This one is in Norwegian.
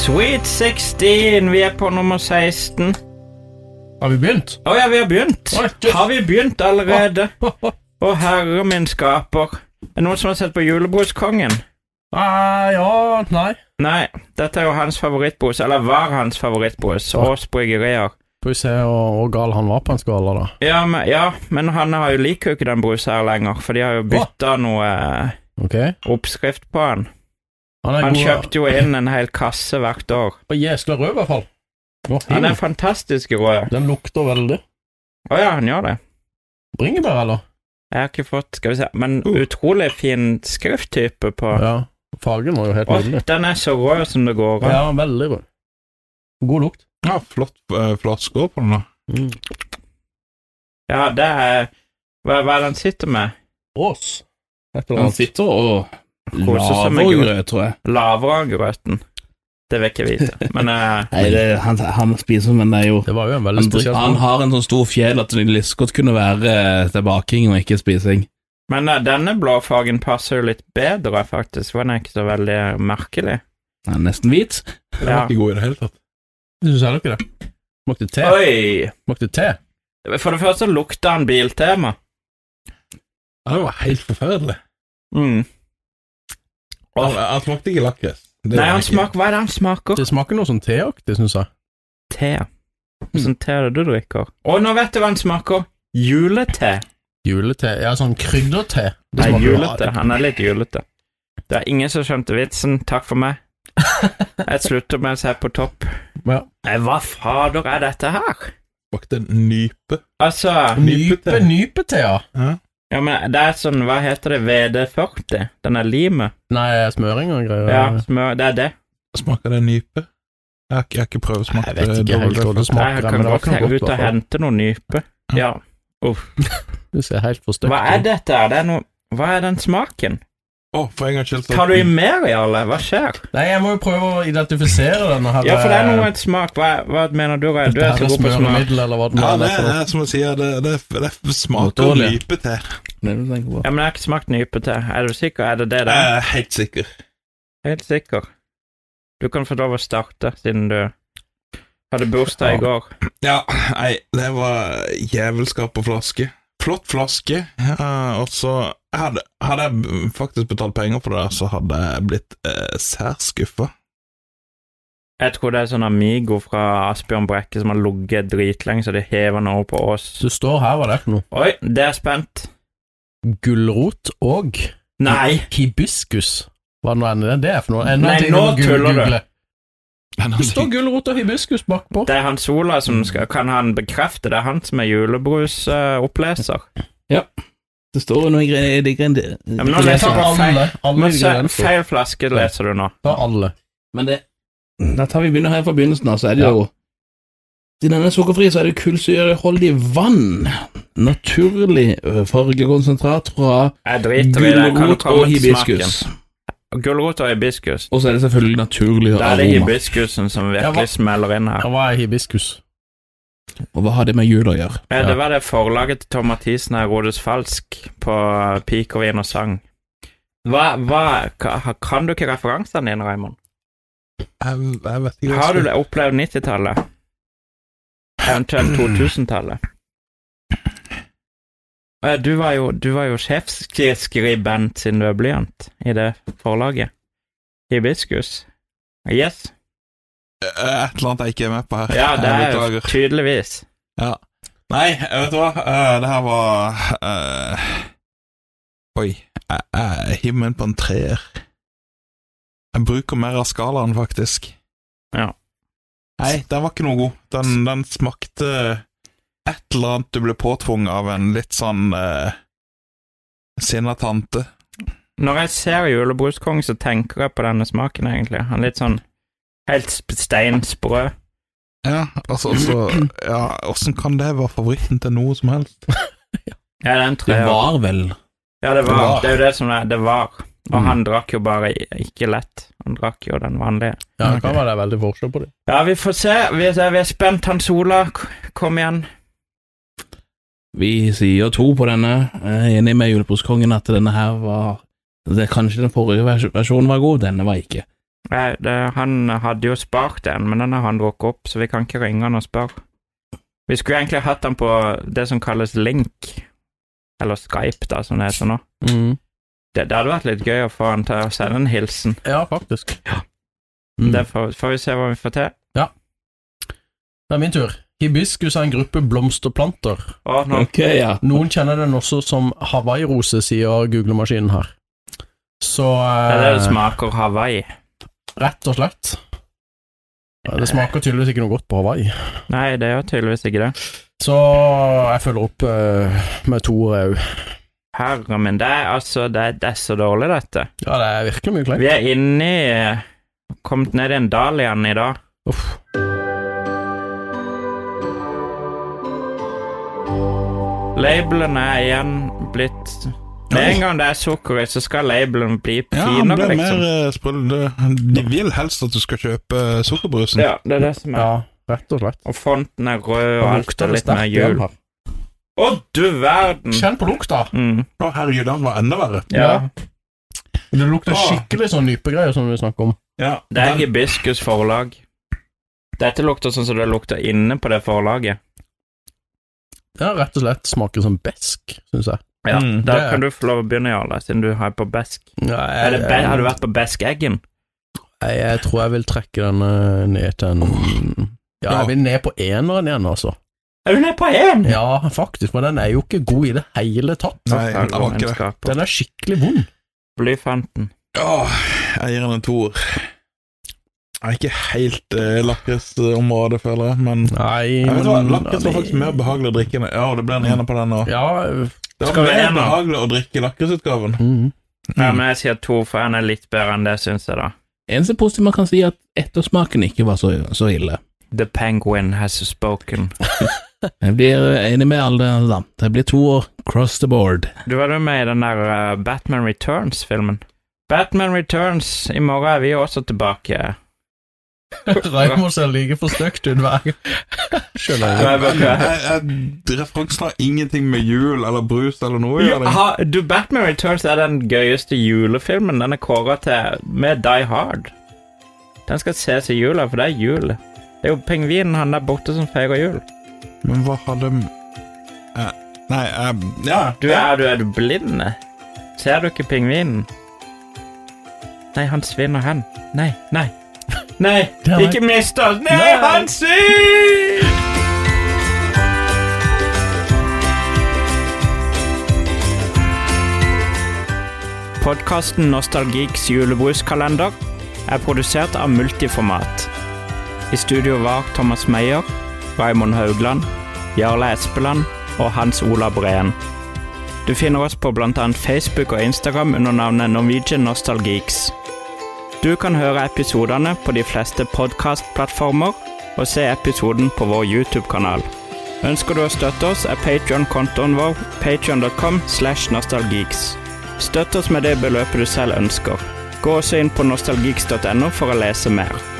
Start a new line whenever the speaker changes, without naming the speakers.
Sweet 16. Vi er på nummer 16.
Har vi begynt?
Å ja, vi har begynt.
Oi, jøss.
Har vi begynt allerede?
ah,
Å, herre min skaper. Er det noen som har sett på Julebruskongen?
Ah, ja, nei.
Nei, dette er jo hans favorittbrus, eller var hans favorittbrus, Ås Bryggerier.
Får vi se hvor hvor gal han var på en skala, da.
Ja, men, ja, men han har jo liker jo ikke den brusen her lenger, for de har jo bytta noe eh,
Ok?
oppskrift på den.
Han er
Han
god
kjøpte jo inn en hel kasse hvert år.
på Gjesla rød, i hvert fall. Å,
Han
mm.
er fantastisk rød.
Den lukter veldig.
Å ja, han gjør det.
Bringebær, eller?
Jeg har ikke fått Skal vi se Men utrolig fin skrifttype på
Ja. Fargen var jo helt
Å,
nydelig.
den er så rød som det går an.
Ja, veldig rød. God lukt.
Ja, flott eh, flaske på den, da.
Ja, det er Hva, hva er det han sitter med?
Ås. Et eller
Han
annet.
sitter og
Koser seg med
laver
grøt.
grøt, tror jeg.
Lavraggrøten. Det vil ikke jeg vite. Men eh,
Nei, det, han, han spiser, men det er jo
Det var jo en veldig
han, dri-
spesiell
han
smak.
har en sånn stor fjell at det lyst godt kunne være eh, til baking og ikke spising.
Men eh, denne blåfargen passer jo litt bedre, faktisk, for den er ikke så veldig merkelig.
Han er nesten hvit.
Den
Ja.
var ikke god i det hele tatt.
Du syns heller ikke det? Smakte te.
Oi!
Smakte te.
For det første lukta han biltema.
Ja, det var helt forferdelig.
Mm.
Han, han smakte ikke lakris. Det
Nei,
gjorde
han
ikke.
smak, hva er det han smaker?
Det smaker noe sånn teaktig, syns jeg.
Te.
Mm.
Sånn te er det du drikker. Å, nå vet du hva han smaker! Julete.
Julete. Ja, sånn krydderte.
Nei, julete. Han er litt julete. Det er ingen som skjønte vitsen. Takk for meg. Jeg slutter med å se på topp.
Ja.
Nei, hva fader er dette her?
smakte nype.
Altså
Nype,
Nypete.
nypete, ja.
Ja, men det er sånn, hva heter det, VD40? Den er limet.
Nei, smøring og greier.
Ja, smør, det er det.
Smaker det nype? Jeg har ikke, jeg har ikke prøvsmakt
Jeg vet
eh,
ikke helt
dobbelt
hva det
røffel.
Nei,
smaker,
jeg kan
men det var
godt
ikke noe
gå ut
godt.
og
hvertfall.
hente noen nype. Ja.
Det ser helt for stygt
Hva er dette? her? Det er noe... Hva er den smaken?
Å, for en gangs skyld så-
Tar du i mer, Jarle? Hva skjer?
Nei, jeg må jo prøve å identifisere denne her
Ja, for det er noe et smak. Hva, hva mener du, Røy? Du
Dette
er så
her er
god på smak.
smøremiddel, eller hva det nå
Ja,
er.
det,
for
det
noe.
er som å si, det, det, det, det smaker
Motorolje.
nype til.
Det er det du tenker på.
Ja, men jeg har ikke smakt nype til. Er du sikker? Er det det det
Jeg
er?
er helt sikker.
Helt sikker. Du kan få lov å starte, siden du hadde bursdag i går.
Ja, nei, det var jævelskap på flaske. Flott flaske. eh, og så hadde, hadde jeg faktisk betalt penger for det, der, så hadde jeg blitt eh, særs skuffa.
Jeg tror det er sånn Amigo fra Asbjørn Brekke som har ligget dritlenge, så de hever den over på oss.
Så står her hva det er for noe.
Oi, det er spent.
Gulrot og
Nei!
hibiskus. Hva nå enn det det er for noe. Enda
Nei,
en ting
nå
må gu-
tuller du.
google. Det
Nei,
står gulrot og hibiskus bakpå.
Det er Hans Ola som skal Kan han bekrefte? Det er han som er julebrusoppleser.
Det står jo noe greier i grinde...
men nå leser jeg
Ta
bare
alle. Alle
Men se,
ingredienser.
feil flaske leser du nå.
Ta alle.
Men det Da tar vi begynner her fra begynnelsen, da, så er det
Ja.
jo Siden den er sukkerfri, så er det kullsyreholdig vann. Naturlig ø, fargekonsentrat fra
Jeg driter i det. Kan du
gulrot
komme
og
til smaken?
hibiskus.
Gulrot og hibiskus.
Og så er det selvfølgelig naturlig
Da er det
aroma.
hibiskusen som
Ja, hva-
virkelig smeller inn her.
Ja, Hva er hibiskus?
Og hva har det med jul å gjøre?
Ja, det var det forlaget til Tom Mathisen her, Rodes Falsk, på Pik og Vin og Sang. Hva, hva ka- Kan du ikke referansene dine, Raymond?
Jeg, jeg vet ikke hva jeg
Har du
skal-
det opplevd 90-tallet? Eventuelt 2000-tallet? Eh, Du var jo, du var jo sjefsskribent siden du er blyant i det forlaget. Hibiskus. Yes.
Eh, Et eller annet jeg ikke er med på her.
Ja, det
Jeg
er jo
beklager.
tydeligvis.
Ja. Nei, vet du hva? Eh, det her var eh, Oi. Jeg jeg hiver meg inn på en treer. Jeg bruker mer av skalaen, faktisk.
Ja.
Nei, den var ikke noe god. Den, den smakte et eller annet du ble påtvunget av en litt sånn uh, sinna tante.
Når jeg ser julebruskongen, så tenker jeg på denne smaken, egentlig. Han er litt sånn helt sp- steinsprø.
Ja, altså, altså ja, Åssen kan det være favoritten til noe som helst?
Ja, den
Det
tror jeg.
var vel
Ja, det
Det
var.
var.
Det er jo det som er. Det var. Og
Mm.
han drakk jo bare i- ikke lett. Han drakk jo den vanlige.
Ja,
Ok.
det kan være det er veldig forskjell på dem.
Ja, vi får se. Vi er, vi er spent. Hans Ola, k- kom igjen.
Vi sier to på denne. Jeg er enig med julebruskongen at denne her var det, Kanskje den forrige vers- versjonen var god, denne var ikke.
Nei, det, han hadde jo spart en, men den har han drukket opp, så vi kan ikke ringe han og spørre. Vi skulle egentlig hatt han på det som kalles link, eller Skype, da, som det heter nå. Det, det hadde vært litt gøy å få han til å sende en hilsen.
Ja, faktisk.
Mm.
Det får, får vi se hva vi får til.
Det er min tur. Hibiskus er en gruppe blomsterplanter.
Å, nå,
Ok, ja.
Noen kjenner den også som hawaiirose, sier googlemaskinen her. Så
det er det det
eh,
smaker Hawaii.
rett og slett Ja, Det smaker tydeligvis ikke noe godt på Hawaii.
Nei, det er jo tydeligvis ikke det.
Så jeg følger opp eh, med to òg.
Herre min, det er altså det, er- det er så dårlig, dette.
Ja, det er virkelig mye kleint.
Vi er inne i eh, Kommet ned i en dal igjen i dag.
Uff.
Labelen er igjen blitt Med en gang det er sukker i, så skal labelen bli
Ja, han
finere,
ble mer
liksom.
eh, sprudlende. De vil helst at du skal kjøpe eh, sukkerbrusen.
Ja, det er det som er.
Ja, rett og slett.
Og fonten er rød, og
Da
alt er litt mer
igjen
jul.
her.
Å, du verden!
Kjenn på lukta!
Mm.
Å, herregud, den var enda verre.
Ja.
Det lukter
Åh.
skikkelig sånn nypegreier som vi snakker om.
Ja,
Det er
den,
Hibiskus forlag. Dette lukter sånn som det lukter inne på det forlaget.
Ja, rett og slett smaker som besk, syns jeg.
Ja,
Mm,
Da
det er-
kan du få lov å begynne, Jarle, siden du har på Besk. Er det be har du vært på Besk-eggen?
Jeg, jeg tror jeg vil trekke den eh, ned til en Ja, jeg vil ned på eneren igjen, altså.
Er du nede på én?!
Ja, faktisk, men den er jo ikke god i det hele tatt.
nei, den var ikke det.
det.
Den er skikkelig vond.
Blyfanten.
Åh, jeg gir den en toer. Jeg er ikke helt eh, lakrisområdet, føler jeg, men
Nei,
jeg vet hva,
men-
Lakris var faktisk mer behagelig å drikke enn Ja, det ble en ener på den òg.
Ja, eh,
Det
Skal
var
vi
mer
ener?
behagelig å drikke lakrisutgaven.
mm.
Ja, men jeg sier to, for en er litt bedre enn det, syns jeg, da.
Eneste positive man kan si, er at ettersmaken ikke var så, så ille.
The penguin has spoken.
Jeg blir eh, enig med alle, da. Det blir to år cross the board.
Du var jo med i den der eh, Batman Returns-filmen. Batman Returns, i morgen er vi også tilbake.
Raymond ser like forstøkt ut hver gang. Skjønner jeg.
Nei, men-
Jeg- jeg- Referansen har ingenting med jul eller brus eller noe å
Ja,
gjøre.
ha- du, Batman Returns er den gøyeste julefilmen. Den er kåra til med Die Hard. Den skal ses i jula, for det er jul. Det er jo pingvinen han der borte som feirer jul.
Men hva har de Eh, Nei, eh, ja.
Du er, du, er du blind? Ser du ikke pingvinen? Nei, han svinner hen. Nei, nei. Nei,
Det er-
ikke mist oss! Nei,
Nei.
han syr! Podkasten Nostalgiks julebruskalender er produsert av Multiformat. I studio var Thomas Meyer, Raymond Haugland, Jarle Espeland og Hans Ola Breen. Du finner oss på bl.a. Facebook og Instagram under navnet Norwegian Nostalgeeks. Du kan høre episodene på de fleste podkastplattformer og se episoden på vår YouTube-kanal. Ønsker du å støtte oss, er Patreon-kontoen vår patreon.com slash nostalgeeks. Støtt oss med det beløpet du selv ønsker. Gå også inn på nostalgeeks.no for å lese mer.